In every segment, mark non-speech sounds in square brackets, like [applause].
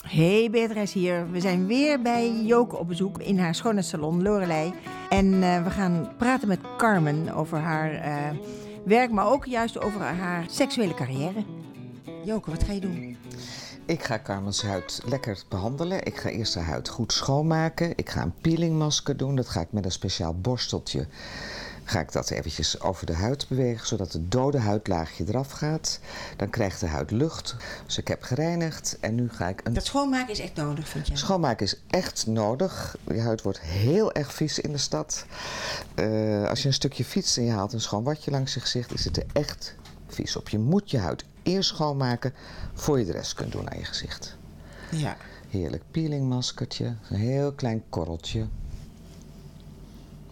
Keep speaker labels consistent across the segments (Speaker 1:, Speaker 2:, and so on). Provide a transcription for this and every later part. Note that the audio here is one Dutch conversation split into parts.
Speaker 1: Hey, Beatrice hier. We zijn weer bij Joke op bezoek in haar schone salon Lorelei. En eh, we gaan praten met Carmen over haar eh, werk, maar ook juist over haar seksuele carrière. Joke, wat ga je doen?
Speaker 2: Ik ga Carmen's huid lekker behandelen. Ik ga eerst haar huid goed schoonmaken. Ik ga een peelingmasker doen. Dat ga ik met een speciaal borsteltje. Ga ik dat eventjes over de huid bewegen, zodat het dode huidlaagje eraf gaat. Dan krijgt de huid lucht. Dus ik heb gereinigd en nu ga ik een...
Speaker 1: Dat schoonmaken is echt nodig, vind je?
Speaker 2: Schoonmaken is echt nodig. Je huid wordt heel erg vies in de stad. Eh, als je een stukje fiets en je haalt een schoon watje langs je gezicht, is het er echt vies op. Je moet je huid eerst schoonmaken voor je de rest kunt doen aan je gezicht.
Speaker 1: Ja.
Speaker 2: Heerlijk peelingmaskertje, een heel klein korreltje.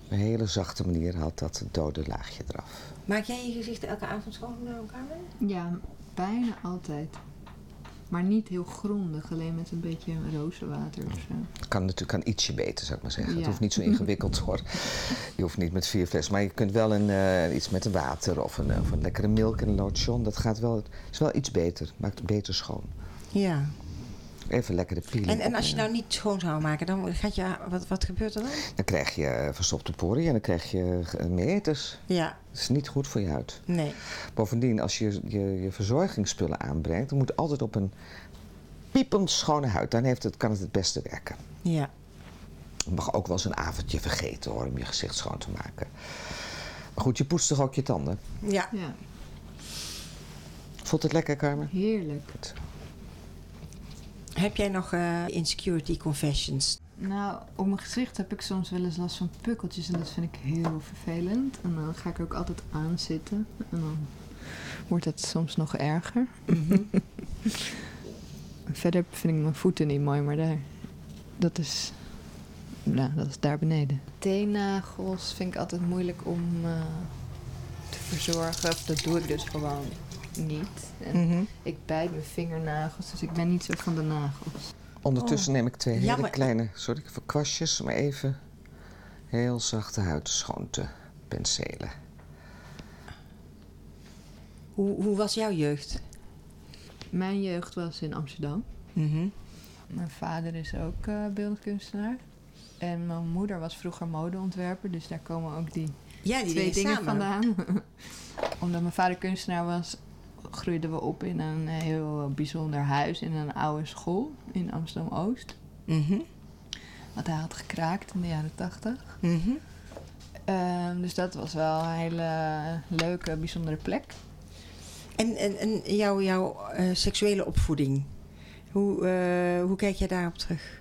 Speaker 2: Op een hele zachte manier haalt dat het dode laagje eraf.
Speaker 1: Maak jij je gezicht elke avond schoon, eh, Carmen?
Speaker 3: Ja, bijna altijd. Maar niet heel grondig, alleen met een beetje rozenwater of zo.
Speaker 2: Het kan natuurlijk kan ietsje beter, zou ik maar zeggen. Het
Speaker 3: Ja.
Speaker 2: hoeft niet zo ingewikkeld hoor. Je hoeft niet met vier fles, maar je kunt wel een, eh, iets met water of een, of een lekkere milk en een lotion. Dat gaat wel, is wel iets beter, maakt het beter schoon.
Speaker 1: Ja.
Speaker 2: Even lekkere peeling.
Speaker 1: En, en als je
Speaker 2: opnemen.
Speaker 1: nou niet schoon zou maken, dan gaat je, wat, wat gebeurt er dan?
Speaker 2: Dan krijg je eh, verstopte poriën en dan krijg je eh, meters.
Speaker 1: Ja,
Speaker 2: Dat is niet goed voor je huid.
Speaker 1: nee.
Speaker 2: Bovendien, als je, je je verzorgingsspullen aanbrengt, dan moet het altijd op een piepend schone huid. Dan heeft het, kan het het beste werken.
Speaker 1: Ja.
Speaker 2: Je mag ook wel eens een avondje vergeten hoor, om je gezicht schoon te maken. Maar goed, je poetst toch ook je tanden?
Speaker 1: Ja.
Speaker 3: Ja,
Speaker 2: Voelt het lekker, Carmen?
Speaker 3: heerlijk.
Speaker 1: Heb jij nog eh, insecurity confessions?
Speaker 3: Nou, op mijn gezicht heb ik soms wel eens last van pukkeltjes en dat vind ik heel vervelend. En dan ga ik er ook altijd aan zitten en dan wordt het soms nog erger. Mhm. [laughs] Verder vind ik mijn voeten niet mooi, maar daar, dat is, nou, dat is daar beneden. Teennagels vind ik altijd moeilijk om eh, te verzorgen, of dat doe ik dus gewoon niet. En
Speaker 1: Mhm.
Speaker 3: Ik bijt mijn vingernagels, dus ik ben niet zo van de nagels.
Speaker 2: Ondertussen neem ik twee hele
Speaker 1: Oh. Ja, maar-
Speaker 2: kleine, sorry voor kwastjes, maar even heel zachte huid schoon te penselen.
Speaker 1: Hoe, hoe was jouw jeugd?
Speaker 3: Mijn jeugd was in Amsterdam.
Speaker 1: Mhm.
Speaker 3: Mijn vader is ook eh, beeldkunstenaar. En mijn moeder was vroeger modeontwerper, dus daar komen ook die
Speaker 1: Ja, die
Speaker 3: twee
Speaker 1: dingen
Speaker 3: dingen
Speaker 1: samen.
Speaker 3: vandaan. [laughs] Omdat mijn vader kunstenaar was, groeiden we op in een heel bijzonder huis in een oude school in Amsterdam Oost.
Speaker 1: Mhm,
Speaker 3: Wat hij had gekraakt in de jaren tachtig.
Speaker 1: mhm.
Speaker 3: dus dat was wel een hele leuke, bijzondere plek.
Speaker 1: En, en, en jouw, jouw eh, seksuele opvoeding, hoe, eh, hoe kijk jij daarop terug?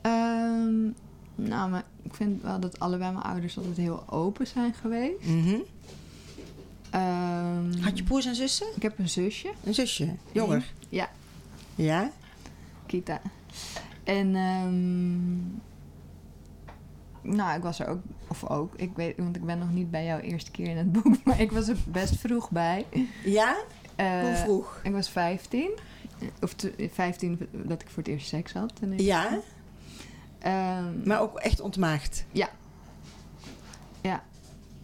Speaker 3: Ehm, nou, maar ik vind wel dat allebei mijn ouders altijd heel open zijn geweest.
Speaker 1: Mhm.
Speaker 3: Ehm,
Speaker 1: Had je broers en zussen?
Speaker 3: Ik heb een zusje,
Speaker 1: Een zusje, jonger.
Speaker 3: Ja.
Speaker 1: Ja?
Speaker 3: Kita. En ehm nou, ik was er ook, of ook, ik weet, want ik ben nog niet bij jouw eerste keer in het boek, [laughs] maar ik was er best vroeg bij.
Speaker 1: Ja?
Speaker 3: Eh,
Speaker 1: Hoe vroeg?
Speaker 3: Ik was 15, of te- 15 dat ik voor het eerst seks had. En ik,
Speaker 1: Ja,
Speaker 3: Ehm,
Speaker 1: maar ook echt ontmaagd.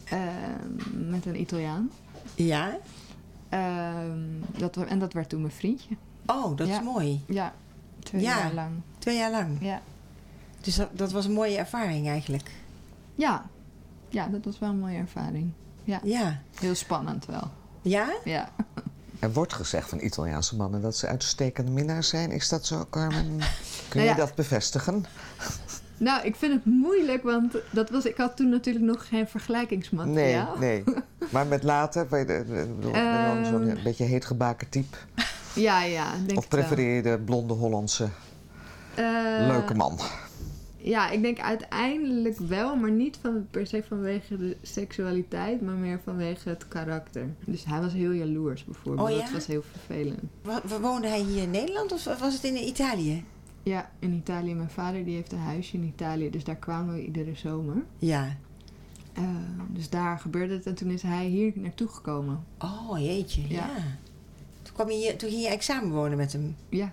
Speaker 3: ehm, met een Italiaan.
Speaker 1: Ja?
Speaker 3: Ehm, dat, wa- en dat werd toen mijn vriendje.
Speaker 1: Oh, dat
Speaker 3: Ja.
Speaker 1: is mooi.
Speaker 3: Ja, twee
Speaker 1: Ja.
Speaker 3: jaar lang.
Speaker 1: Twee jaar lang.
Speaker 3: Ja.
Speaker 1: Dus dat, dat was een mooie ervaring eigenlijk.
Speaker 3: ja, ja, dat was wel een mooie ervaring.
Speaker 1: Ja.
Speaker 3: Heel spannend wel.
Speaker 1: Ja?
Speaker 3: Ja.
Speaker 2: Er wordt gezegd van Italiaanse mannen dat ze uitstekende minnaars zijn. Is dat zo,
Speaker 1: [laughs] Nou
Speaker 2: Carmen? Kun je
Speaker 3: ja.
Speaker 2: dat bevestigen?
Speaker 3: Nou, ik vind het moeilijk, want dat was, ik had toen natuurlijk nog geen
Speaker 2: Nee,
Speaker 3: vergelijkingsmateriaal. [laughs]
Speaker 2: nee. Maar met later, weet je, eh, bedoel,
Speaker 3: Ehm.
Speaker 2: dan zo'n beetje heet gebaken type.
Speaker 3: Ja, ja, denk
Speaker 2: Of
Speaker 3: het wel.
Speaker 2: prefereer je de blonde Hollandse
Speaker 3: Eh,
Speaker 2: leuke man?
Speaker 3: Ja, ik denk uiteindelijk wel, maar niet van, per se vanwege de seksualiteit, maar meer vanwege het karakter. Dus hij was heel jaloers bijvoorbeeld,
Speaker 1: Oh ja?
Speaker 3: dat was heel vervelend.
Speaker 1: Wa- wa- Woonde hij hier in Nederland of was het in Italië?
Speaker 3: Ja, in Italië, mijn vader die heeft een huisje in Italië, dus daar kwamen we iedere zomer.
Speaker 1: Ja.
Speaker 3: Eh, dus daar gebeurde het en toen is hij hier naartoe gekomen.
Speaker 1: Oh, jeetje. Ja.
Speaker 3: Ja.
Speaker 1: Toen, kwam je hier, toen ging je examen wonen met hem.
Speaker 3: Ja,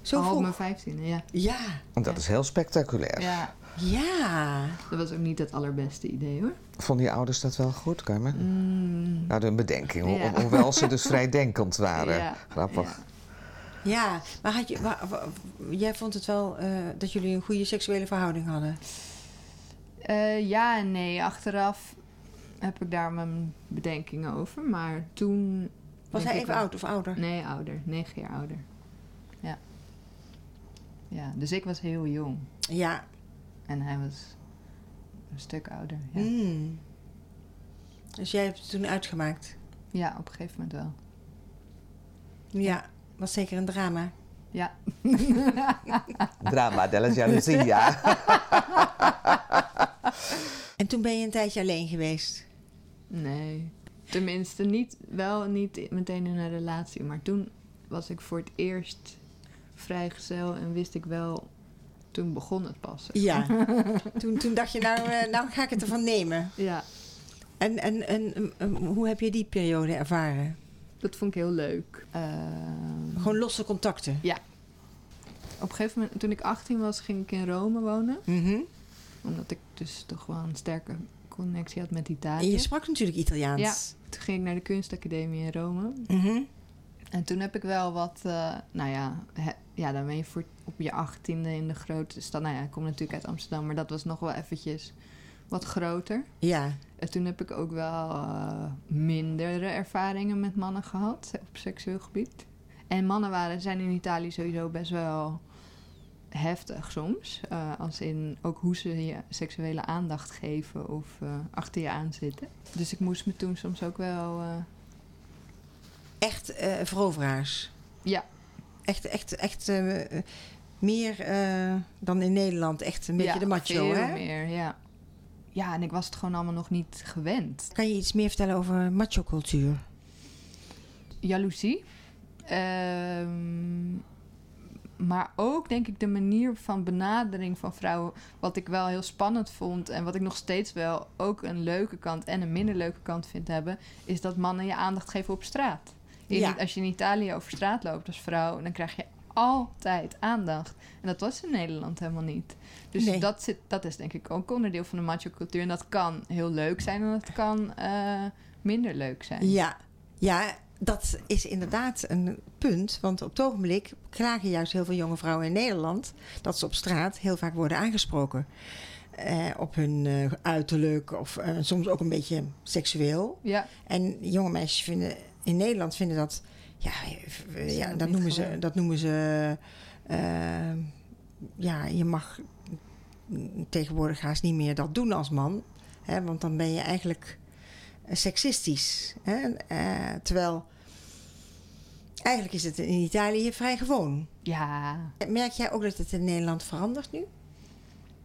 Speaker 1: Zo
Speaker 3: al op
Speaker 1: vroeg.
Speaker 3: mijn vijftiende, ja.
Speaker 1: Ja.
Speaker 2: Want dat is heel spectaculair.
Speaker 3: Ja,
Speaker 1: Ja.
Speaker 3: dat was ook niet het allerbeste idee hoor.
Speaker 2: Vonden je ouders dat wel goed, Carmen?
Speaker 3: Mm,
Speaker 2: Nou, hun bedenking, ho-
Speaker 3: Ja. [laughs]
Speaker 2: ho- hoewel ze dus vrij denkend waren.
Speaker 3: Ja,
Speaker 2: Grappig.
Speaker 3: ja.
Speaker 1: Ja, maar had je, wa- wa- jij vond het wel eh, dat jullie een goede seksuele verhouding hadden?
Speaker 3: Eh, ja en nee. Achteraf heb ik daar mijn bedenkingen over. Maar toen...
Speaker 1: Was
Speaker 3: denk
Speaker 1: hij
Speaker 3: ik
Speaker 1: even
Speaker 3: wel-
Speaker 1: oud of ouder?
Speaker 3: Nee, ouder. Negen jaar ouder. Ja. Ja, dus ik was heel jong.
Speaker 1: Ja.
Speaker 3: En hij was een stuk ouder. Ja,
Speaker 1: Hmm. Dus jij hebt het toen uitgemaakt?
Speaker 3: ja op een gegeven moment wel.
Speaker 1: Ja. Was zeker een drama.
Speaker 3: Ja.
Speaker 2: Drama della jalousia.
Speaker 1: En toen ben je een tijdje alleen geweest?
Speaker 3: Nee. Tenminste, niet, wel niet i- meteen in een relatie. Maar toen was ik voor het eerst vrijgezel en wist ik wel... Toen begon het pas.
Speaker 1: [laughs] Ja. toen, toen dacht je, nou, eh, nou ga ik het ervan nemen.
Speaker 3: Ja,
Speaker 1: En, en, en em, em, hoe heb je die periode ervaren?
Speaker 3: dat vond ik heel leuk. Ehm,
Speaker 1: Gewoon losse contacten?
Speaker 3: op een gegeven moment, toen ik 18 was, ging ik in Rome wonen.
Speaker 1: Mhm.
Speaker 3: Omdat ik dus toch wel een sterke connectie had met
Speaker 1: En
Speaker 3: Italië.
Speaker 1: je sprak natuurlijk Italiaans.
Speaker 3: Toen ging ik naar de kunstacademie in Rome.
Speaker 1: Ja.
Speaker 3: En toen heb ik wel wat, eh, nou ja, he- ja, dan ben je voor, op je achttiende in de grote stad. Nou ja, ik kom natuurlijk uit Amsterdam, maar dat was nog wel eventjes wat groter.
Speaker 1: Ja.
Speaker 3: En toen heb ik ook wel eh, mindere ervaringen met mannen gehad op seksueel gebied. En mannen waren, zijn in Italië sowieso best wel heftig soms. Eh, als in ook hoe ze je seksuele aandacht geven of eh, achter je aan zitten. Dus ik moest me toen soms ook wel... eh,
Speaker 1: Echt eh, veroveraars?
Speaker 3: Ja.
Speaker 1: Echt, echt, echt eh, eh, meer eh, dan in Nederland. Echt een beetje
Speaker 3: Ja,
Speaker 1: de macho,
Speaker 3: veel
Speaker 1: hè?
Speaker 3: meer, ja. Ja, en ik was het gewoon allemaal nog niet gewend.
Speaker 1: Kan je iets meer vertellen over macho-cultuur?
Speaker 3: Jaloezie. Ehm, maar ook, denk ik, de manier van benadering van vrouwen... wat ik wel heel spannend vond... en wat ik nog steeds wel ook een leuke kant... en een minder leuke kant vind hebben... is dat mannen je aandacht geven op straat. In-
Speaker 1: Ja.
Speaker 3: Als je in Italië over straat loopt als vrouw... dan krijg je altijd aandacht. En dat was in Nederland helemaal niet. Dus
Speaker 1: Nee.
Speaker 3: dat, zit, dat is denk ik ook onderdeel van de macho-cultuur. En dat kan heel leuk zijn en dat kan eh, minder leuk zijn.
Speaker 1: Ja. ja, dat is inderdaad een punt. Want op het ogenblik klagen juist heel veel jonge vrouwen in Nederland... dat ze op straat heel vaak worden aangesproken. Eh, op hun eh, uiterlijk of eh, soms ook een beetje seksueel.
Speaker 3: Ja,
Speaker 1: En jonge meisjes vinden in Nederland vinden dat. Ja, eh, ja
Speaker 3: dat
Speaker 1: dat,
Speaker 3: niet
Speaker 1: noemen ze,
Speaker 3: gewoon?
Speaker 1: dat noemen ze. eh, ja, je mag tegenwoordig haast niet meer dat doen als man. Hè, want dan ben je eigenlijk eh, seksistisch. Hè, eh, terwijl. Eigenlijk is het in Italië vrij gewoon.
Speaker 3: ja.
Speaker 1: Merk jij ook dat het in Nederland verandert nu?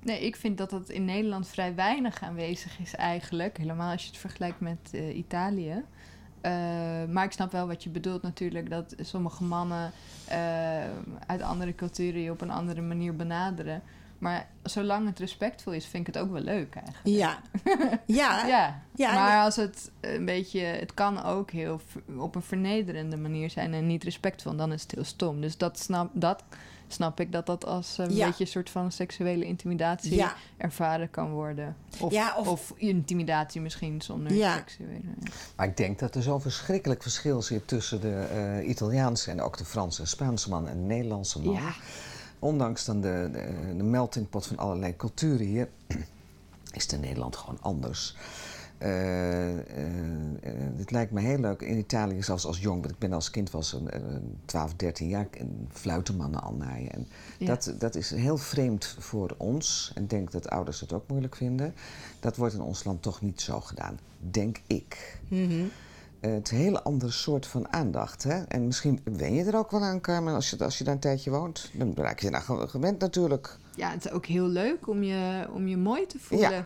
Speaker 3: Nee, ik vind dat dat in Nederland vrij weinig aanwezig is eigenlijk. Helemaal als je het vergelijkt met eh, Italië. Eh, maar ik snap wel wat je bedoelt natuurlijk. Dat sommige mannen eh, uit andere culturen je op een andere manier benaderen. Maar zolang het respectvol is, vind ik het ook wel leuk eigenlijk.
Speaker 1: Ja. [laughs] ja.
Speaker 3: Ja,
Speaker 1: Ah, Ja, en-
Speaker 3: maar als het een beetje, het kan ook heel ver- op een vernederende manier zijn en niet respectvol, dan is het heel stom. Dus dat snap, dat snap ik dat dat als een
Speaker 1: Ja.
Speaker 3: beetje een soort van seksuele intimidatie
Speaker 1: Ja.
Speaker 3: ervaren kan worden. Of,
Speaker 1: Ja, of-
Speaker 3: of, intimidatie misschien zonder
Speaker 1: Ja.
Speaker 3: seksuele. ja.
Speaker 2: Maar ik denk dat er zo'n verschrikkelijk verschil zit tussen de eh, Italiaanse en ook de Franse en Spaanse man en de Nederlandse man.
Speaker 3: Ja.
Speaker 2: Ondanks dan de, de, de melting pot van allerlei culturen hier, is het in Nederland gewoon anders. Eh, eh, eh, het lijkt me heel leuk in Italië, zelfs als jong, want ik ben als kind was een, eh, 12, 13 jaar, en fluitenmannen al naaien. En
Speaker 3: Ja.
Speaker 2: dat, dat is heel vreemd voor ons en ik denk dat ouders het ook moeilijk vinden. Dat wordt in ons land toch niet zo gedaan, denk ik.
Speaker 1: Mhm.
Speaker 2: Eh, het is een hele andere soort van aandacht. Hè? En misschien wen je er ook wel aan, Carmen, als je, als je daar een tijdje woont. Dan raak je daar gewend natuurlijk.
Speaker 3: Ja, het is ook heel leuk om je, om je mooi te voelen.
Speaker 2: Ja.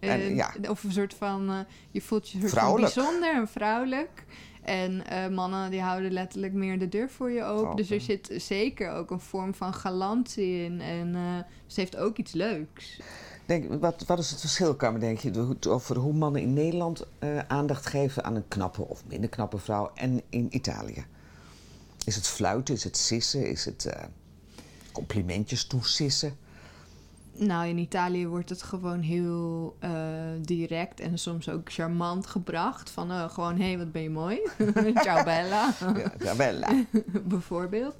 Speaker 3: En,
Speaker 2: En, ja.
Speaker 3: Of een soort van, eh, je voelt je soort van
Speaker 2: Vrouwelijk.
Speaker 3: bijzonder en vrouwelijk. En eh, mannen die houden letterlijk meer de deur voor je open.
Speaker 2: Open.
Speaker 3: Dus er zit zeker ook een vorm van galantie in. En eh, dus het heeft ook iets leuks.
Speaker 2: Denk, wat, wat is het verschil, Carmen, denk je, hoe- over hoe mannen in Nederland eh, aandacht geven aan een knappe of minder knappe vrouw en in Italië? Is het fluiten, is het sissen, is het eh, complimentjes toesissen?
Speaker 3: Nou, in Italië wordt het gewoon heel eh, direct en soms ook charmant gebracht. Van eh, gewoon, hé, hey, wat ben je mooi. [laughs] Ciao
Speaker 2: [laughs]
Speaker 3: bella,
Speaker 2: Ja, eh, Isabella.
Speaker 3: [laughs] bijvoorbeeld.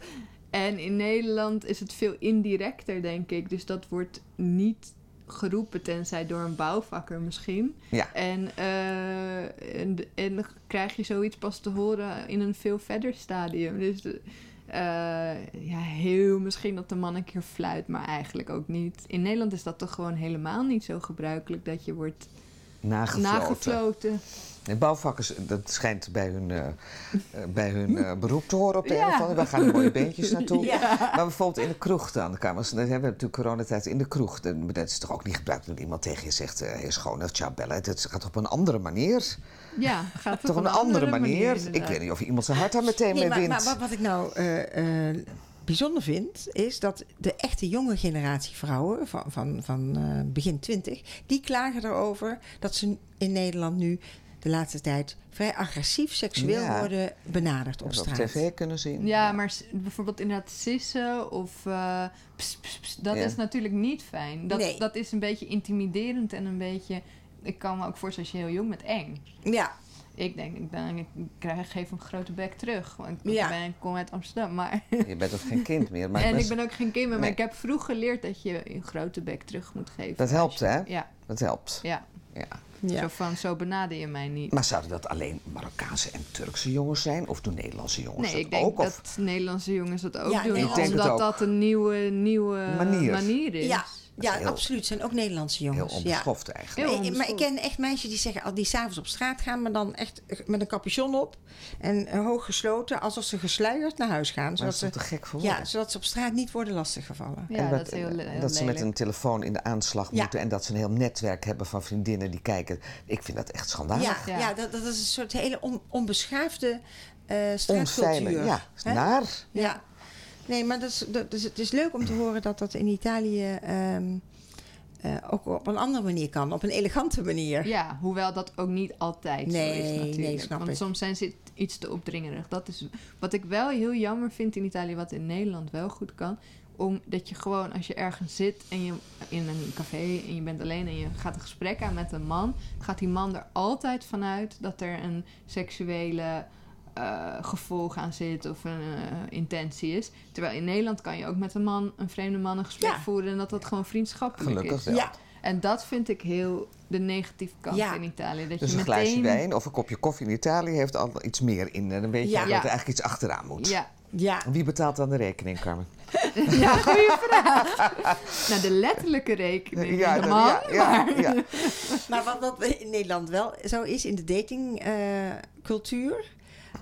Speaker 3: En in Nederland is het veel indirecter, denk ik. Dus dat wordt niet geroepen, tenzij door een bouwvakker misschien.
Speaker 2: Ja.
Speaker 3: En, eh, en, en dan krijg je zoiets pas te horen in een veel verder stadium. Dus eh, ja, heel misschien dat de man een keer fluit, maar eigenlijk ook niet. In Nederland is dat toch gewoon helemaal niet zo gebruikelijk dat je wordt
Speaker 2: Nagefloten.
Speaker 3: nagefloten.
Speaker 2: De bouwvakkers, dat schijnt bij hun, eh, eh, bij hun eh, beroep te horen op de
Speaker 3: Ja.
Speaker 2: een of andere. Waar gaan de mooie beentjes naartoe?
Speaker 3: [laughs] Ja.
Speaker 2: Maar bijvoorbeeld in de kroeg dan. Dan, kan- want dan hebben we natuurlijk coronatijd in de kroeg. Dan- Dat is toch ook niet gebruikt dat iemand tegen je zegt... eh heer Schone of Chabelle. Dat gaat op een andere manier.
Speaker 3: Ja, gaat
Speaker 2: toch een andere, manier. ik
Speaker 3: inderdaad.
Speaker 2: weet niet of iemand zijn hart daar meteen
Speaker 1: Nee,
Speaker 2: mee
Speaker 1: maar,
Speaker 2: wint.
Speaker 1: maar wat- wat ik nou eh, eh, bijzonder vind, is dat de echte jonge generatie vrouwen van, van, van eh, begin twintig, die klagen erover dat ze in Nederland nu de laatste tijd vrij agressief seksueel
Speaker 2: Ja.
Speaker 1: worden benaderd op
Speaker 2: Dat we op
Speaker 1: straat.
Speaker 2: tv kunnen zien.
Speaker 3: Ja, maar s- bijvoorbeeld inderdaad sissen of eh, ps, ps, ps, dat
Speaker 2: Ja.
Speaker 3: is natuurlijk niet fijn. Dat,
Speaker 1: Nee.
Speaker 3: dat is een beetje intimiderend en een beetje, ik kan me ook voorstellen als je heel jong bent, eng.
Speaker 1: Ja,
Speaker 3: Ik denk, ik, ben, ik krijg, geef een grote bek terug, want ik,
Speaker 1: Ja.
Speaker 3: ben, ik kom uit Amsterdam. Maar,
Speaker 2: Je bent ook geen kind meer. Maar
Speaker 3: [laughs] en
Speaker 2: best-
Speaker 3: ik ben ook geen kind meer, maar
Speaker 2: Nee.
Speaker 3: ik heb vroeg geleerd dat je een grote bek terug moet geven.
Speaker 2: Dat helpt, hè?
Speaker 3: Ja,
Speaker 2: Dat helpt.
Speaker 3: ja.
Speaker 2: Ja.
Speaker 1: ja.
Speaker 3: Zo van, zo benader je mij niet.
Speaker 2: Maar zouden dat alleen Marokkaanse en Turkse jongens zijn? Of doen Nederlandse jongens
Speaker 3: Nee,
Speaker 2: dat
Speaker 3: ik denk
Speaker 2: ook? Of-
Speaker 3: dat Nederlandse jongens dat ook
Speaker 1: Ja,
Speaker 3: doen.
Speaker 1: ik denk het
Speaker 3: omdat
Speaker 2: ook.
Speaker 3: dat een nieuwe, nieuwe
Speaker 2: Manier.
Speaker 3: manier. is.
Speaker 1: ja, ja,
Speaker 2: heel-
Speaker 1: absoluut. Het zijn ook Nederlandse
Speaker 2: Heel
Speaker 1: jongens. ja.
Speaker 2: onbeschoft eigenlijk.
Speaker 3: Heel
Speaker 1: Maar ik- maar ik
Speaker 3: onbeschoft.
Speaker 1: ken echt meisjes die zeggen, al die s'avonds op straat gaan, maar dan echt met een capuchon op en eh, hoog gesloten, alsof ze gesluierd naar huis gaan.
Speaker 2: Maar dat
Speaker 1: Zodat
Speaker 2: is
Speaker 1: ze,
Speaker 2: toch te gek voor
Speaker 1: ja,
Speaker 2: woorden?
Speaker 1: zodat ze op straat niet worden lastiggevallen.
Speaker 3: Ja,
Speaker 2: En
Speaker 3: dat, is heel,
Speaker 2: eh,
Speaker 3: le- heel
Speaker 2: dat ze met
Speaker 3: lelijk.
Speaker 2: een telefoon in de aanslag
Speaker 1: Ja.
Speaker 2: moeten en dat ze een heel netwerk hebben van vriendinnen die kijken. Ik vind dat echt schandalig.
Speaker 1: Ja, ja.
Speaker 3: Ja.
Speaker 1: dat, dat is een soort hele on- onbeschaafde eh
Speaker 2: Onfijne,
Speaker 1: straatcultuur.
Speaker 2: ja. Nou.
Speaker 1: hè?
Speaker 2: Naar.
Speaker 1: Ja. Nee, maar dat is, dat is, het is leuk om te horen dat dat in Italië ehm, eh, ook op een andere manier kan. Op een elegante manier.
Speaker 3: Ja, hoewel dat ook niet altijd
Speaker 1: Nee,
Speaker 3: zo is natuurlijk.
Speaker 1: nee, snap
Speaker 3: Want
Speaker 1: ik.
Speaker 3: soms zijn ze iets te opdringerig. Dat is wat ik wel heel jammer vind in Italië, wat in Nederland wel goed kan. Omdat je gewoon, als je ergens zit en je in een café en je bent alleen en je gaat een gesprek aan met een man, gaat die man er altijd vanuit dat er een seksuele eh, gevolg aan zit of een eh, intentie is. Terwijl in Nederland kan je ook met een man, een vreemde man, een gesprek
Speaker 1: Ja.
Speaker 3: voeren en dat dat gewoon vriendschappelijk
Speaker 2: Gelukkig
Speaker 3: is.
Speaker 2: wel.
Speaker 1: Ja.
Speaker 3: En dat vind ik heel de negatieve kant
Speaker 1: Ja.
Speaker 3: in Italië. Dat
Speaker 2: Dus
Speaker 3: je
Speaker 2: een
Speaker 3: meteen...
Speaker 2: glaasje wijn of een kopje koffie in Italië heeft al iets meer in. En dan weet je
Speaker 1: Ja.
Speaker 2: dat
Speaker 3: Ja.
Speaker 2: er eigenlijk iets achteraan moet.
Speaker 3: Ja. [laughs]
Speaker 1: Ja.
Speaker 2: Wie betaalt dan de rekening, Carmen?
Speaker 3: ja, goede vraag. nou, de letterlijke rekening. Ja,
Speaker 2: dat-
Speaker 3: man,
Speaker 2: ja,
Speaker 3: maar-
Speaker 2: ja.
Speaker 1: [laughs] Maar wat, wat in Nederland wel zo is in de datingcultuur... eh,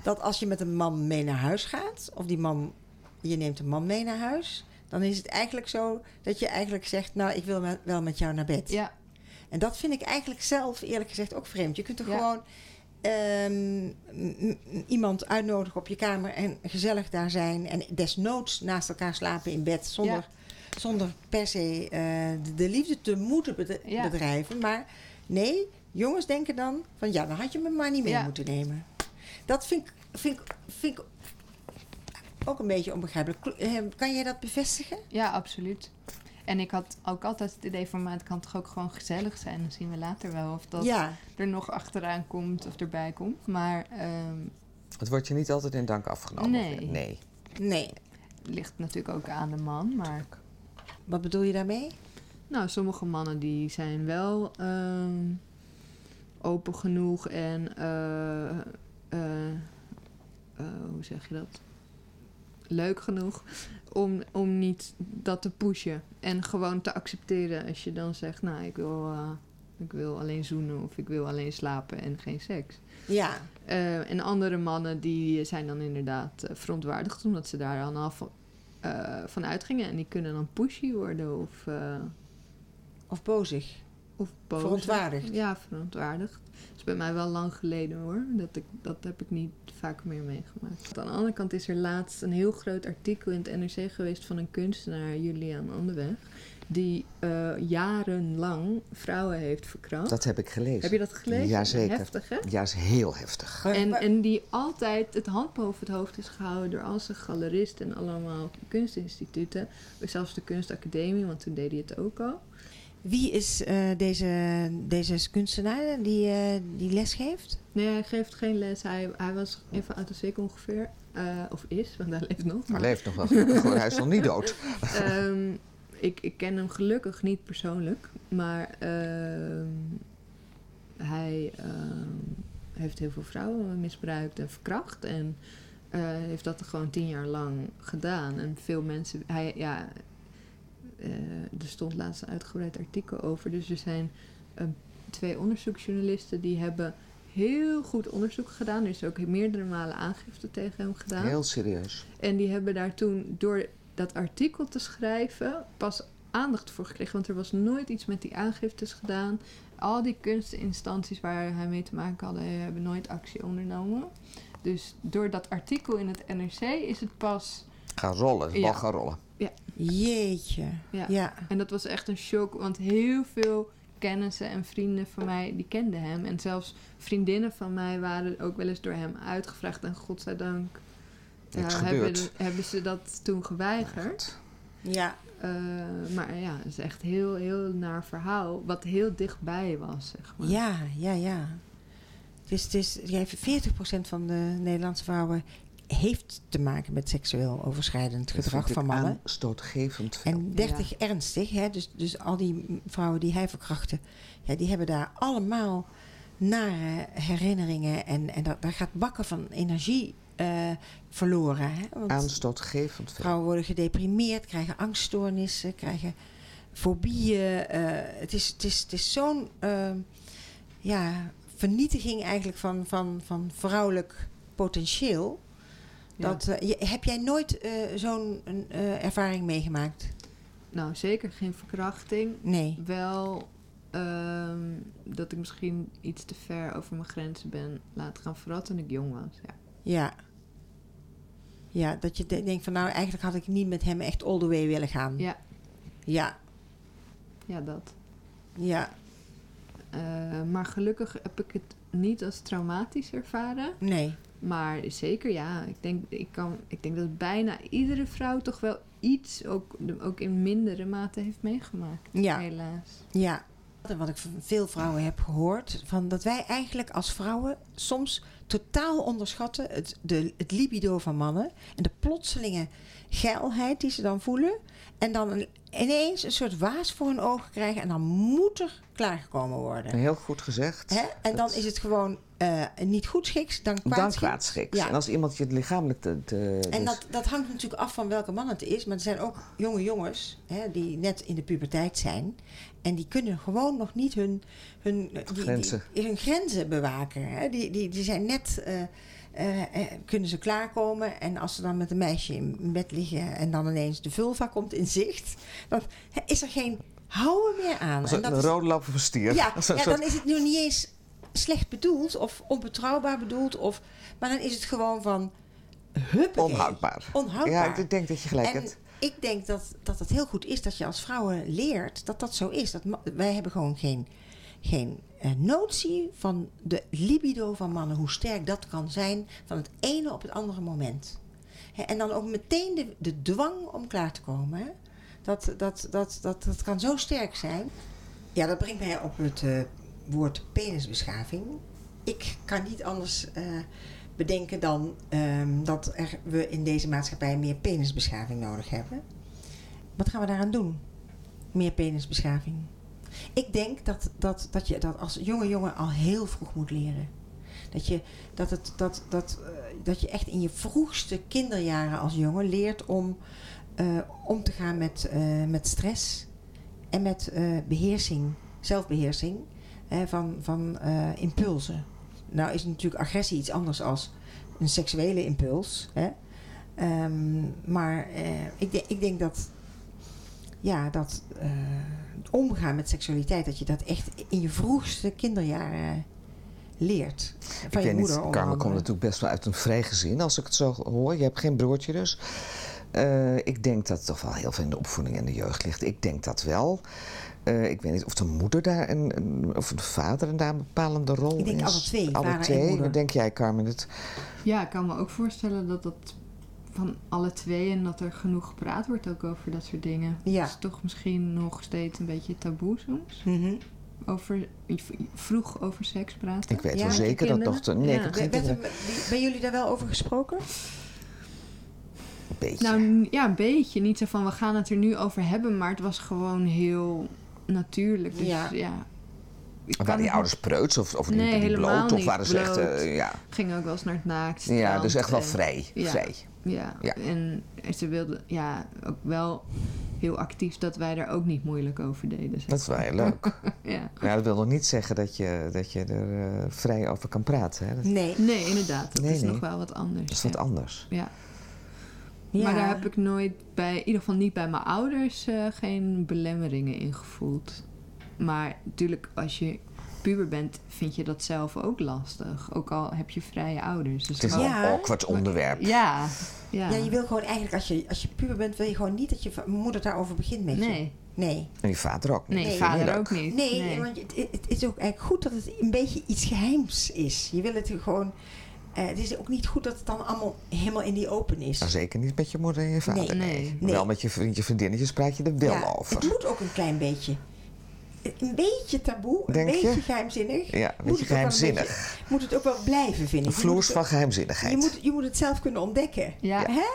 Speaker 1: dat als je met een man mee naar huis gaat... of die man, je neemt een man mee naar huis... dan is het eigenlijk zo dat je eigenlijk zegt... nou, ik wil met- wel met jou naar bed.
Speaker 3: ja.
Speaker 1: En dat vind ik eigenlijk zelf, eerlijk gezegd, ook vreemd. Je kunt er
Speaker 3: Ja.
Speaker 1: gewoon ehm, m- m- iemand uitnodigen op je kamer en gezellig daar zijn. En desnoods naast elkaar slapen in bed. Zonder, zonder per se eh, de, de liefde te moeten bede-
Speaker 3: Ja.
Speaker 1: bedrijven. Maar nee, jongens denken dan van ja, dan had je me maar niet mee
Speaker 3: Ja.
Speaker 1: moeten nemen. Dat vind ik, vind, ik- vind ik ook een beetje onbegrijpelijk. Kl- eh, Kan jij dat bevestigen?
Speaker 3: ja, absoluut. En ik had ook altijd het idee van, maar het kan toch ook gewoon gezellig zijn. Dan zien we later wel of dat
Speaker 1: Ja.
Speaker 3: er nog achteraan komt of erbij komt. Maar ehm,
Speaker 2: Het wordt je niet altijd in dank afgenomen.
Speaker 3: Nee.
Speaker 2: nee.
Speaker 1: Nee.
Speaker 3: het ligt natuurlijk ook aan de man. Maar
Speaker 1: Wat bedoel je daarmee?
Speaker 3: Nou, sommige mannen die zijn wel ehm, open genoeg en eh, eh, eh, hoe zeg je dat? Leuk genoeg om, om niet dat te pushen en gewoon te accepteren als je dan zegt, nou ik wil, eh, ik wil alleen zoenen of ik wil alleen slapen en geen seks.
Speaker 1: Ja.
Speaker 3: Eh, en andere mannen die zijn dan inderdaad eh, verontwaardigd omdat ze daar dan al van, eh, van uitgingen en die kunnen dan pushy worden of... eh,
Speaker 1: Of bozig?
Speaker 3: of boos.
Speaker 1: Verontwaardigd.
Speaker 3: Ja, verontwaardigd. Dat is bij mij wel lang geleden hoor. Dat, ik, dat heb ik niet vaak meer meegemaakt. Aan de andere kant is er laatst een heel groot artikel in het NRC geweest van een kunstenaar, Julian Anderweg. die eh, jarenlang vrouwen heeft verkracht.
Speaker 2: Dat heb ik gelezen.
Speaker 3: Oh. Heb je dat gelezen?
Speaker 2: Jazeker.
Speaker 3: Heftig, hè?
Speaker 2: Ja, is heel heftig.
Speaker 3: En, en die altijd het hand boven het hoofd is gehouden door al zijn galeristen en allemaal kunstinstituten. Zelfs de kunstacademie, want toen deed hij het ook al.
Speaker 1: Wie is eh, deze, deze kunstenaar die, eh die les geeft?
Speaker 3: Nee, hij geeft geen les. Hij, hij was even uit de ziek ongeveer. Eh, of is, want hij leeft nog.
Speaker 2: Hij
Speaker 3: Maar,
Speaker 2: leeft nog wel gelukkig hoor, hij is
Speaker 3: [laughs]
Speaker 2: nog niet dood.
Speaker 3: Ehm, ik, ik ken hem gelukkig niet persoonlijk. Maar ehm, hij ehm, heeft heel veel vrouwen misbruikt en verkracht. En eh, heeft dat gewoon tien jaar lang gedaan. En veel mensen... Hij, ja, eh, er stond laatst een uitgebreid artikel over. Dus er zijn eh, twee onderzoeksjournalisten die hebben... Heel goed onderzoek gedaan. Er is ook meerdere malen aangifte tegen hem gedaan.
Speaker 2: Heel serieus.
Speaker 3: En die hebben daar toen, door dat artikel te schrijven, pas aandacht voor gekregen. Want er was nooit iets met die aangiftes gedaan. Al die kunstinstanties waar hij mee te maken had, hebben nooit actie ondernomen. Dus door dat artikel in het NRC is het pas.
Speaker 2: Gaan rollen, de
Speaker 3: Ja.
Speaker 2: bal gaan rollen.
Speaker 1: Jeetje.
Speaker 3: Ja.
Speaker 1: ja.
Speaker 3: En dat was echt een shock, want heel veel kennissen en vrienden van mij, die kenden hem. En zelfs vriendinnen van mij waren ook wel eens door hem uitgevraagd. En godzijdank eh,
Speaker 2: Niks
Speaker 3: hebben,
Speaker 2: gebeurd.
Speaker 3: hebben ze dat toen geweigerd.
Speaker 1: Ja.
Speaker 3: Eh, maar ja, het is echt heel, heel naar verhaal. Wat heel dichtbij was, zeg maar.
Speaker 1: Ja, ja, ja. Dus het is, jij heeft 40% van de Nederlandse vrouwen heeft te maken met seksueel overschrijdend
Speaker 2: Dat
Speaker 1: gedrag
Speaker 2: vind
Speaker 1: van
Speaker 2: ik
Speaker 1: mannen.
Speaker 2: Aanstootgevend veel.
Speaker 1: En 30 ernstig, hè? Dus, dus al die vrouwen die hij verkrachtte, ja, die hebben daar allemaal nare herinneringen en, en daar, daar gaat bakken van energie eh, verloren. Hè? Want
Speaker 2: Aanstootgevend veel.
Speaker 1: vrouwen worden gedeprimeerd, krijgen angststoornissen, krijgen fobieën. eh, het is, het is, het is zo'n eh, ja, vernietiging eigenlijk van, van, van vrouwelijk potentieel.
Speaker 3: Ja.
Speaker 1: Dat, eh, je- heb jij nooit eh, zo'n eh, ervaring meegemaakt?
Speaker 3: Nou, zeker geen verkrachting.
Speaker 1: Nee.
Speaker 3: Wel ehm, dat ik misschien iets te ver over mijn grenzen ben laten gaan. Vooral toen ik jong was, ja.
Speaker 1: Ja. Ja, dat je de- denkt van nou, eigenlijk had ik niet met hem echt all the way willen gaan.
Speaker 3: Ja,
Speaker 1: Ja,
Speaker 3: ja dat.
Speaker 1: ja.
Speaker 3: Eh, maar gelukkig heb ik het niet als traumatisch ervaren.
Speaker 1: nee.
Speaker 3: Maar zeker ja, ik denk, ik, kan, ik denk dat bijna iedere vrouw toch wel iets, ook, ook in mindere mate, heeft meegemaakt.
Speaker 1: Ja.
Speaker 3: Helaas.
Speaker 1: Ja. En Wat ik van veel vrouwen heb gehoord, van dat wij eigenlijk als vrouwen soms totaal onderschatten het, de, het libido van mannen en de plotselinge geilheid die ze dan voelen. En dan een- ineens een soort waas voor hun ogen krijgen en dan moet er klaargekomen worden.
Speaker 2: Heel goed gezegd.
Speaker 1: Hè? En dan is het gewoon eh, niet goed schiks, dan kwaad
Speaker 2: Dan
Speaker 1: schiks.
Speaker 2: kwaadschiks.
Speaker 1: Ja.
Speaker 2: En als iemand je het lichamelijk... Te, te-
Speaker 1: En
Speaker 2: dus-
Speaker 1: dat, dat hangt natuurlijk af van welke man het is. Maar er zijn ook jonge jongens hè, die net in de puberteit zijn. En die kunnen gewoon nog niet hun, hun, die- die-
Speaker 2: Grenzen.
Speaker 1: hun grenzen bewaken. Hè. Die, die, die zijn net... eh, eh, eh, kunnen ze klaarkomen en als ze dan met een meisje in bed liggen en dan ineens de vulva komt in zicht, dan is er geen houden meer aan.
Speaker 2: als
Speaker 1: En
Speaker 2: een
Speaker 1: dat
Speaker 2: een
Speaker 1: is-
Speaker 2: rode lap op een stier.
Speaker 1: ja,
Speaker 2: [laughs] Als een
Speaker 1: ja,
Speaker 2: soort-
Speaker 1: dan is het nu niet eens slecht bedoeld of onbetrouwbaar bedoeld. Of, maar dan is het gewoon van huppakee.
Speaker 2: Onhoudbaar.
Speaker 1: Onhoudbaar.
Speaker 2: Ja, ik denk dat je gelijk
Speaker 1: en
Speaker 2: hebt.
Speaker 1: ik denk dat, dat het heel goed is dat je als vrouwen leert dat dat zo is. Dat ma- wij hebben gewoon geen, geen eh, notie van de libido van mannen. Hoe sterk dat kan zijn van het ene op het andere moment. Hè, en dan ook meteen de, de dwang om klaar te komen. Hè? Dat, dat, dat, dat, dat kan zo sterk zijn. Ja, dat brengt mij op het eh, woord penisbeschaving. Ik kan niet anders eh, bedenken dan ehm, dat er, we in deze maatschappij meer penisbeschaving nodig hebben. Wat gaan we daaraan doen? Meer penisbeschaving. Ik denk dat, dat, dat je dat als jonge jongen al heel vroeg moet leren. Dat je, dat, het, dat, dat, eh, dat je echt in je vroegste kinderjaren als jongen leert om eh, om te gaan met, eh, met stress en met eh, beheersing, zelfbeheersing hè, van, van eh, impulsen. Nou is natuurlijk agressie iets anders als een seksuele impuls. Hè? Ehm, maar eh, ik, de- ik denk dat, ja, dat eh, het omgaan met seksualiteit, dat je dat echt in je vroegste kinderjaren leert. Van
Speaker 2: Ik
Speaker 1: je
Speaker 2: weet
Speaker 1: moeder
Speaker 2: niet,
Speaker 1: onder
Speaker 2: Carmen komt
Speaker 1: andere.
Speaker 2: natuurlijk best wel uit een vrij gezin, als ik het zo hoor. Je hebt geen broertje dus. Eh, ik denk dat het toch wel heel veel in de opvoeding en de jeugd ligt. Ik denk dat wel. Eh, ik weet niet of de moeder daar een, een- of de vader daar een bepalende rol
Speaker 1: Ik denk
Speaker 2: is.
Speaker 1: alle twee, vader en moeder.
Speaker 2: Wat denk jij, Carmen? Het,
Speaker 3: Ja, ik kan me ook voorstellen dat dat van alle twee en dat er genoeg gepraat wordt ook over dat soort dingen.
Speaker 1: Ja.
Speaker 3: Het is toch misschien nog steeds een beetje taboe soms.
Speaker 1: Mhm.
Speaker 3: Over, vroeg over seks praten.
Speaker 2: ik weet
Speaker 1: Ja,
Speaker 2: wel
Speaker 1: met je
Speaker 2: zeker dat
Speaker 3: kinderen?
Speaker 2: nog... te- Nee, ik
Speaker 3: Ja.
Speaker 2: heb geen
Speaker 1: Ben, ben-
Speaker 2: kinderen.
Speaker 1: ben jullie daar wel over gesproken?
Speaker 2: Een beetje.
Speaker 3: Nou n- ja, een beetje. Niet zo van we gaan het er nu over hebben, maar het was gewoon heel natuurlijk. Dus
Speaker 1: Ja.
Speaker 3: ja. ik kan
Speaker 2: waren die
Speaker 3: het-
Speaker 2: ouders preuts of, of
Speaker 3: Nee,
Speaker 2: liepen die
Speaker 3: helemaal
Speaker 2: bloot? Of
Speaker 3: niet
Speaker 2: waren ze echt...
Speaker 3: bloot.
Speaker 2: eh, ja.
Speaker 3: Ging ook wel eens naar het naakt.
Speaker 2: ja, dus
Speaker 3: strand
Speaker 2: echt wel
Speaker 3: en-
Speaker 2: vrij.
Speaker 3: Ja.
Speaker 2: vrij.
Speaker 3: Ja.
Speaker 2: Ja.
Speaker 3: en ze wilden ja, ook wel heel actief dat wij daar ook niet moeilijk over deden. zeg
Speaker 2: Dat is wel heel
Speaker 3: [laughs]
Speaker 2: leuk.
Speaker 3: maar. Ja.
Speaker 2: Ja, dat wil nog niet zeggen dat je, dat je er eh, vrij over kan praten. Hè? Dat,
Speaker 1: Nee.
Speaker 3: Nee, inderdaad. Dat
Speaker 2: Nee,
Speaker 3: is
Speaker 2: nee.
Speaker 3: nog wel wat anders.
Speaker 2: dat is wat
Speaker 3: ja.
Speaker 2: anders.
Speaker 3: Ja.
Speaker 1: Ja.
Speaker 3: Maar daar heb ik nooit bij, in ieder geval niet bij mijn ouders, eh, geen belemmeringen in gevoeld. Maar natuurlijk, als je puber bent, vind je dat zelf ook lastig. Ook al heb je vrije ouders. Dus
Speaker 2: Het is wel
Speaker 3: gewoon-
Speaker 1: Ja.
Speaker 2: een awkward onderwerp.
Speaker 3: ja. Ja.
Speaker 1: Ja, je wil gewoon eigenlijk, als je, als je puber bent, wil je gewoon niet dat je va- moeder daarover begint met je.
Speaker 3: Nee,
Speaker 1: Nee.
Speaker 2: En die vader ook niet.
Speaker 3: nee,
Speaker 1: Nee,
Speaker 3: vader
Speaker 2: Leuk.
Speaker 3: ook niet.
Speaker 1: Nee, want het, het is ook eigenlijk goed dat het een beetje iets geheims is. Je wil het gewoon. eh, het is ook niet goed dat het dan allemaal helemaal in die open is.
Speaker 2: Nou, zeker niet met je moeder en je vader.
Speaker 1: Nee.
Speaker 3: Nee.
Speaker 2: Maar
Speaker 1: Nee.
Speaker 2: Wel met je vriendje, vriendinnetjes praat je er wel
Speaker 1: Ja,
Speaker 2: over.
Speaker 1: Het moet ook een klein beetje. Een beetje taboe, een
Speaker 2: Denk je?
Speaker 1: beetje geheimzinnig.
Speaker 2: Ja, een
Speaker 1: Moet het
Speaker 2: beetje
Speaker 1: ook wel een
Speaker 2: geheimzinnig.
Speaker 1: beetje- moet het ook wel blijven, vind ik.
Speaker 2: Een
Speaker 1: Je moet
Speaker 2: vloers
Speaker 1: het
Speaker 2: van
Speaker 1: ook-
Speaker 2: geheimzinnigheid.
Speaker 1: je moet, je moet het zelf kunnen ontdekken.
Speaker 3: Ja.
Speaker 1: Hè?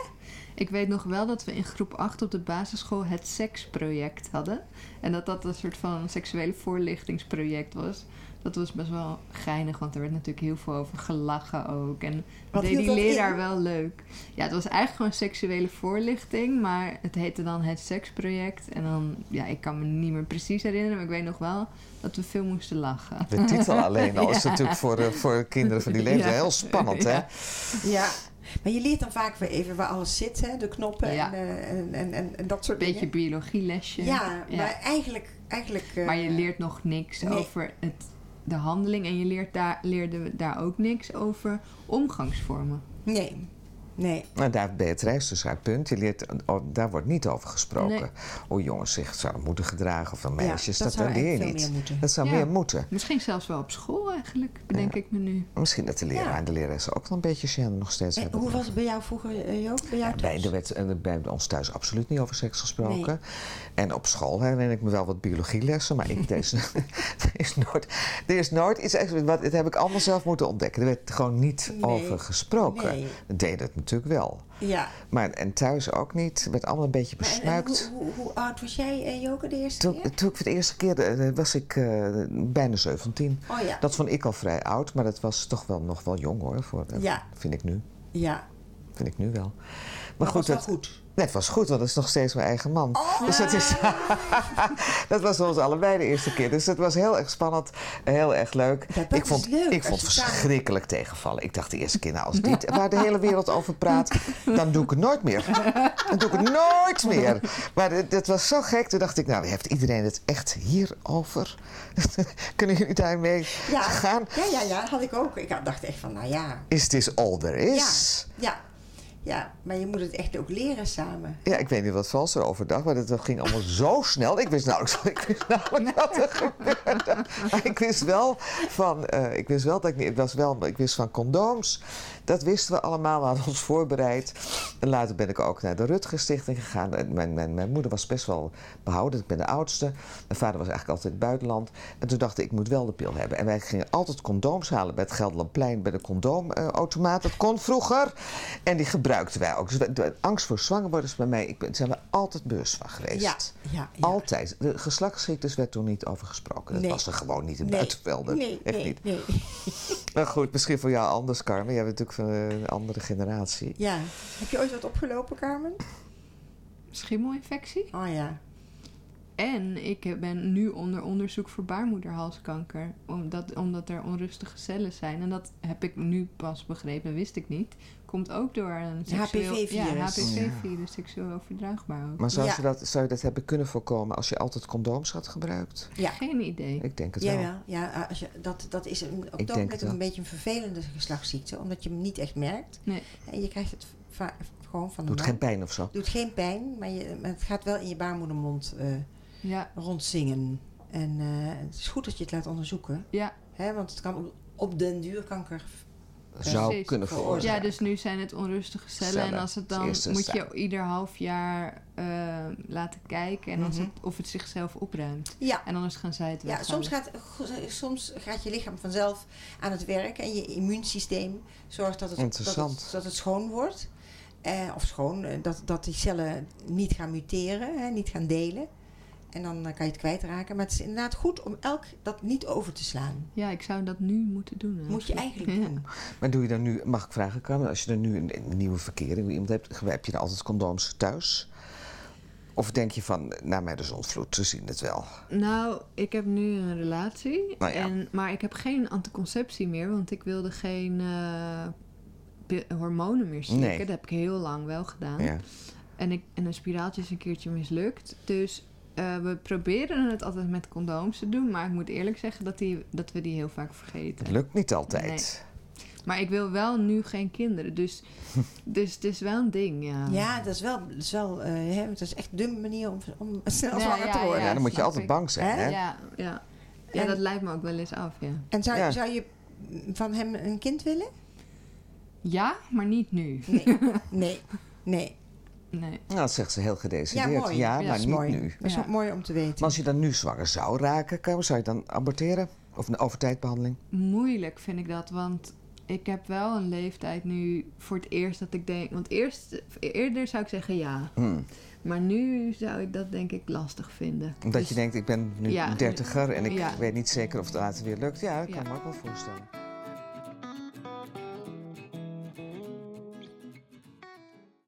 Speaker 3: Ik weet nog wel dat we in groep 8 op de basisschool het seksproject hadden. En dat dat een soort van seksuele voorlichtingsproject was. Dat was best wel geinig, want er werd natuurlijk heel veel over gelachen ook. En
Speaker 1: Wat
Speaker 3: dat deed
Speaker 1: hield
Speaker 3: die
Speaker 1: dat in?
Speaker 3: leraar wel leuk. Ja, het was eigenlijk gewoon seksuele voorlichting, maar het heette dan het seksproject. En dan, ja, ik kan me niet meer precies herinneren, maar ik weet nog wel dat we veel moesten lachen.
Speaker 2: De
Speaker 3: [laughs]
Speaker 2: titel alleen al is
Speaker 3: Ja.
Speaker 2: natuurlijk voor, eh, voor kinderen van die leeftijd
Speaker 3: Ja.
Speaker 2: heel spannend, hè?
Speaker 3: Ja.
Speaker 1: Ja. Maar je leert dan vaak weer even waar alles zit, hè? de knoppen
Speaker 3: Ja.
Speaker 1: en, eh, en, en, en, en dat soort
Speaker 3: Beetje
Speaker 1: dingen.
Speaker 3: biologielesje.
Speaker 1: Ja, maar eigenlijk... eigenlijk eh,
Speaker 3: Maar je leert nog niks
Speaker 1: Nee.
Speaker 3: over het, de handeling en je leert daar, leerden we daar ook niks over omgangsvormen.
Speaker 1: Nee, nee.
Speaker 2: Nou, daar Beatrice dus haar punt. Je leert, oh, daar wordt niet over gesproken.
Speaker 3: Nee.
Speaker 2: Hoe jongens zich zouden moeten gedragen of een
Speaker 1: Ja,
Speaker 2: meisjes,
Speaker 1: dat
Speaker 2: dat,
Speaker 1: zou
Speaker 2: dat leer je
Speaker 1: eigenlijk veel
Speaker 2: niet.
Speaker 1: meer moeten.
Speaker 2: Dat zou
Speaker 3: Ja.
Speaker 2: meer moeten.
Speaker 3: Misschien zelfs wel op school eigenlijk, bedenk ik me nu.
Speaker 2: Misschien dat de leraar
Speaker 1: Ja.
Speaker 2: en de lerares ook wel een beetje gêne nog steeds
Speaker 1: En
Speaker 2: hebben.
Speaker 1: hoe was het bij jou vroeger, eh, Joop? Bij jou
Speaker 2: Bij,
Speaker 1: thuis?
Speaker 2: er werd eh, bij ons thuis absoluut niet over seks gesproken. En op school herinner ik me wel wat biologielessen, maar
Speaker 1: [laughs]
Speaker 2: ik, deze, [laughs] er, is nooit, er is nooit iets echt. Wat, dat heb ik allemaal zelf moeten ontdekken. Er werd gewoon niet
Speaker 1: Nee.
Speaker 2: over gesproken.
Speaker 1: Nee.
Speaker 2: We deden het natuurlijk wel.
Speaker 1: Ja.
Speaker 2: Maar, en thuis ook niet. Het werd allemaal een beetje
Speaker 1: Maar en- en
Speaker 2: besnuikt.
Speaker 1: hoe, hoe, hoe oud was jij, eh, Joke, de eerste
Speaker 2: Toen,
Speaker 1: keer?
Speaker 2: toen ik voor de eerste keer eh, was ik eh, bijna 17.
Speaker 1: Oh ja.
Speaker 2: Dat vond ik al vrij oud, maar dat was toch wel nog wel jong hoor. Voor, eh,
Speaker 1: Ja.
Speaker 2: Vind ik nu.
Speaker 1: Ja.
Speaker 2: Vind ik nu wel. Maar,
Speaker 1: was wel
Speaker 2: dat-
Speaker 1: goed.
Speaker 2: Nee, het was goed, want dat is nog steeds mijn eigen man.
Speaker 1: Oh.
Speaker 2: Dus dat, is, [laughs] dat was voor ons allebei de eerste keer. Dus dat was heel erg spannend, heel erg leuk.
Speaker 1: Ja, dat
Speaker 2: ik
Speaker 1: is
Speaker 2: vond,
Speaker 1: leuk,
Speaker 2: ik
Speaker 1: als
Speaker 2: vond
Speaker 1: je samen-
Speaker 2: verschrikkelijk tegenvallen. Ik dacht de eerste keer, nou als dit waar de hele wereld over praat, dan doe ik het nooit meer. Dan doe ik het nooit meer. Maar dit- dat was zo gek. Toen dacht ik, nou heeft iedereen het echt hierover? [laughs] Kunnen jullie daarmee
Speaker 1: Ja.
Speaker 2: gaan?
Speaker 1: Ja, ja, ja, had ik ook. Ik had- dacht echt van, nou ja.
Speaker 2: Is this all there is?
Speaker 1: Ja, ja. Ja, maar je moet het echt ook leren samen.
Speaker 2: Ja, ik weet niet wat Vals er overdag, maar dat ging allemaal zo snel. Ik wist nauwelijks, ik wist nauwelijks wat er gebeurde. Maar ik wist wel van, eh, ik wist wel dat ik niet, het was wel, ik wist van condooms. Dat wisten we allemaal, we hadden ons voorbereid. En later ben ik ook naar de Rutger Stichting gegaan. En Mijn, mijn, mijn moeder was best wel behouden, ik ben de oudste. Mijn vader was eigenlijk altijd in het buitenland. En toen dacht ik, ik moet wel de pil hebben. En wij gingen altijd condooms halen bij het Gelderlandplein, bij de condoomautomaat. Dat kon vroeger. En die gebruikten wij ook. Dus wij- de- angst voor zwanger worden is bij mij, ik ben, zijn we altijd bewust van geweest.
Speaker 1: Ja, ja, ja.
Speaker 2: Altijd. De geslachtsziektes werd toen niet over gesproken. Dat
Speaker 1: Nee.
Speaker 2: was er gewoon niet in
Speaker 1: Nee.
Speaker 2: buitenvelden.
Speaker 1: Nee,
Speaker 2: Echt
Speaker 1: nee,
Speaker 2: niet.
Speaker 1: nee.
Speaker 2: Maar goed, misschien voor jou anders, Carmen. Jij bent natuurlijk van eh, een andere generatie.
Speaker 1: Ja. Heb je ooit wat opgelopen, Carmen?
Speaker 3: Schimmelinfectie.
Speaker 1: Oh ja.
Speaker 3: En ik heb- ben nu onder onderzoek voor baarmoederhalskanker. Omdat, omdat er onrustige cellen zijn. En dat heb ik nu pas begrepen, wist ik niet. Komt ook door een seksueel...
Speaker 1: HPV-virus.
Speaker 3: Ja, HPV-virus, seksueel overdraagbaar ook.
Speaker 2: Maar zou,
Speaker 1: Ja.
Speaker 2: je dat, zou je dat hebben kunnen voorkomen als je altijd condooms had gebruikt?
Speaker 1: Ja.
Speaker 3: Geen idee.
Speaker 2: Ik denk het wel.
Speaker 1: Jawel, ja, eh, als je, dat, dat is een, op
Speaker 2: denk
Speaker 1: dat moment
Speaker 2: het
Speaker 1: ook
Speaker 2: wel.
Speaker 1: een beetje een vervelende geslachtsziekte, omdat je hem niet echt merkt.
Speaker 3: Nee.
Speaker 1: En je krijgt het va- gewoon van de
Speaker 2: Doet
Speaker 1: man.
Speaker 2: geen pijn of zo.
Speaker 1: Doet geen pijn, maar, je, maar het gaat wel in je baarmoedermond eh,
Speaker 3: Ja,
Speaker 1: rondzingen. En eh, het is goed dat je het laat onderzoeken.
Speaker 3: ja.
Speaker 1: Hè? Want het kan op, op den duur kanker.
Speaker 2: Zou
Speaker 3: Precies.
Speaker 2: kunnen
Speaker 3: ja,
Speaker 2: veroorzaken.
Speaker 3: dus nu zijn het onrustige cellen.
Speaker 2: Cellen.
Speaker 3: En als het dan
Speaker 2: Eerst een
Speaker 3: moet
Speaker 2: sta-
Speaker 3: je ieder half jaar eh, laten kijken. En als het- of het zichzelf opruimt.
Speaker 1: Ja.
Speaker 3: En anders gaan zij het wel.
Speaker 1: Ja, soms gaat, soms gaat je lichaam vanzelf aan het werk en je immuunsysteem zorgt dat het, dat
Speaker 2: Interessant.
Speaker 1: het, dat het schoon wordt. Eh, of schoon, eh, dat, dat die cellen niet gaan muteren, hè, niet gaan delen. En dan eh, kan je het kwijtraken. Maar het is inderdaad goed om elk dat niet over te slaan.
Speaker 3: Ja, ik zou dat nu moeten doen.
Speaker 1: Moet je eigenlijk
Speaker 3: Ja.
Speaker 1: doen.
Speaker 2: Maar doe je dan nu, mag ik vragen, Carmen, als je dan nu een, een nieuwe verkering iemand hebt, heb je dan altijd condooms thuis? Of denk je van, nou, mij de zonvloed, ze zien het wel.
Speaker 3: Nou, ik heb nu een relatie.
Speaker 2: Nou ja.
Speaker 3: en, maar ik heb geen anticonceptie meer, want ik wilde geen eh, pi- hormonen meer slikken.
Speaker 2: Nee.
Speaker 3: Dat heb ik heel lang wel gedaan.
Speaker 2: Ja.
Speaker 3: En, ik, en een spiraaltje is een keertje mislukt. Dus eh, we proberen het altijd met condooms te doen. Maar ik moet eerlijk zeggen dat, die, dat we die heel vaak vergeten.
Speaker 2: Het lukt niet altijd.
Speaker 3: Maar ik wil wel nu geen
Speaker 2: [laughs]
Speaker 3: kinderen. Dus, dus het is wel een ding, ja.
Speaker 1: Ja, dat is wel, dat is wel eh, hè, want dat is echt de manier om, om [laughs] snel
Speaker 3: Ja,
Speaker 1: zwanger
Speaker 3: ja,
Speaker 1: te worden.
Speaker 2: Ja, dan moet je
Speaker 3: snap
Speaker 2: altijd
Speaker 3: ik.
Speaker 2: bang zijn,
Speaker 1: Hè?
Speaker 2: hè?
Speaker 3: ja, ja. Ja,
Speaker 1: En-
Speaker 3: dat lijkt me ook wel eens af, ja.
Speaker 1: En zou,
Speaker 2: Ja.
Speaker 1: zou je van hem een kind
Speaker 3: [laughs]
Speaker 1: willen?
Speaker 3: Ja, maar niet nu.
Speaker 1: Nee. nee. Nee.
Speaker 3: Nee.
Speaker 2: Nou, dat zegt ze heel gedecideerd.
Speaker 1: Ja, mooi.
Speaker 3: Ja,
Speaker 2: maar
Speaker 1: Dat is
Speaker 2: niet
Speaker 1: mooi.
Speaker 2: nu.
Speaker 1: Dat is
Speaker 3: Ja.
Speaker 1: ook mooi om te weten.
Speaker 2: Maar als je dan nu zwanger zou raken, Carmen, zou je dan aborteren? Of een overtijdbehandeling?
Speaker 3: moeilijk vind ik dat, want ik heb wel een leeftijd nu voor het eerst dat ik denk. Want eerst, eerder zou ik zeggen ja,
Speaker 2: Hmm.
Speaker 3: maar nu zou ik dat denk ik lastig vinden.
Speaker 2: Omdat
Speaker 3: Dus-
Speaker 2: je denkt, ik ben nu
Speaker 3: Ja.
Speaker 2: een dertiger en ik
Speaker 3: Ja.
Speaker 2: weet niet zeker of het later weer lukt. Ja, dat kan
Speaker 3: Ja.
Speaker 2: ik me ook wel voorstellen.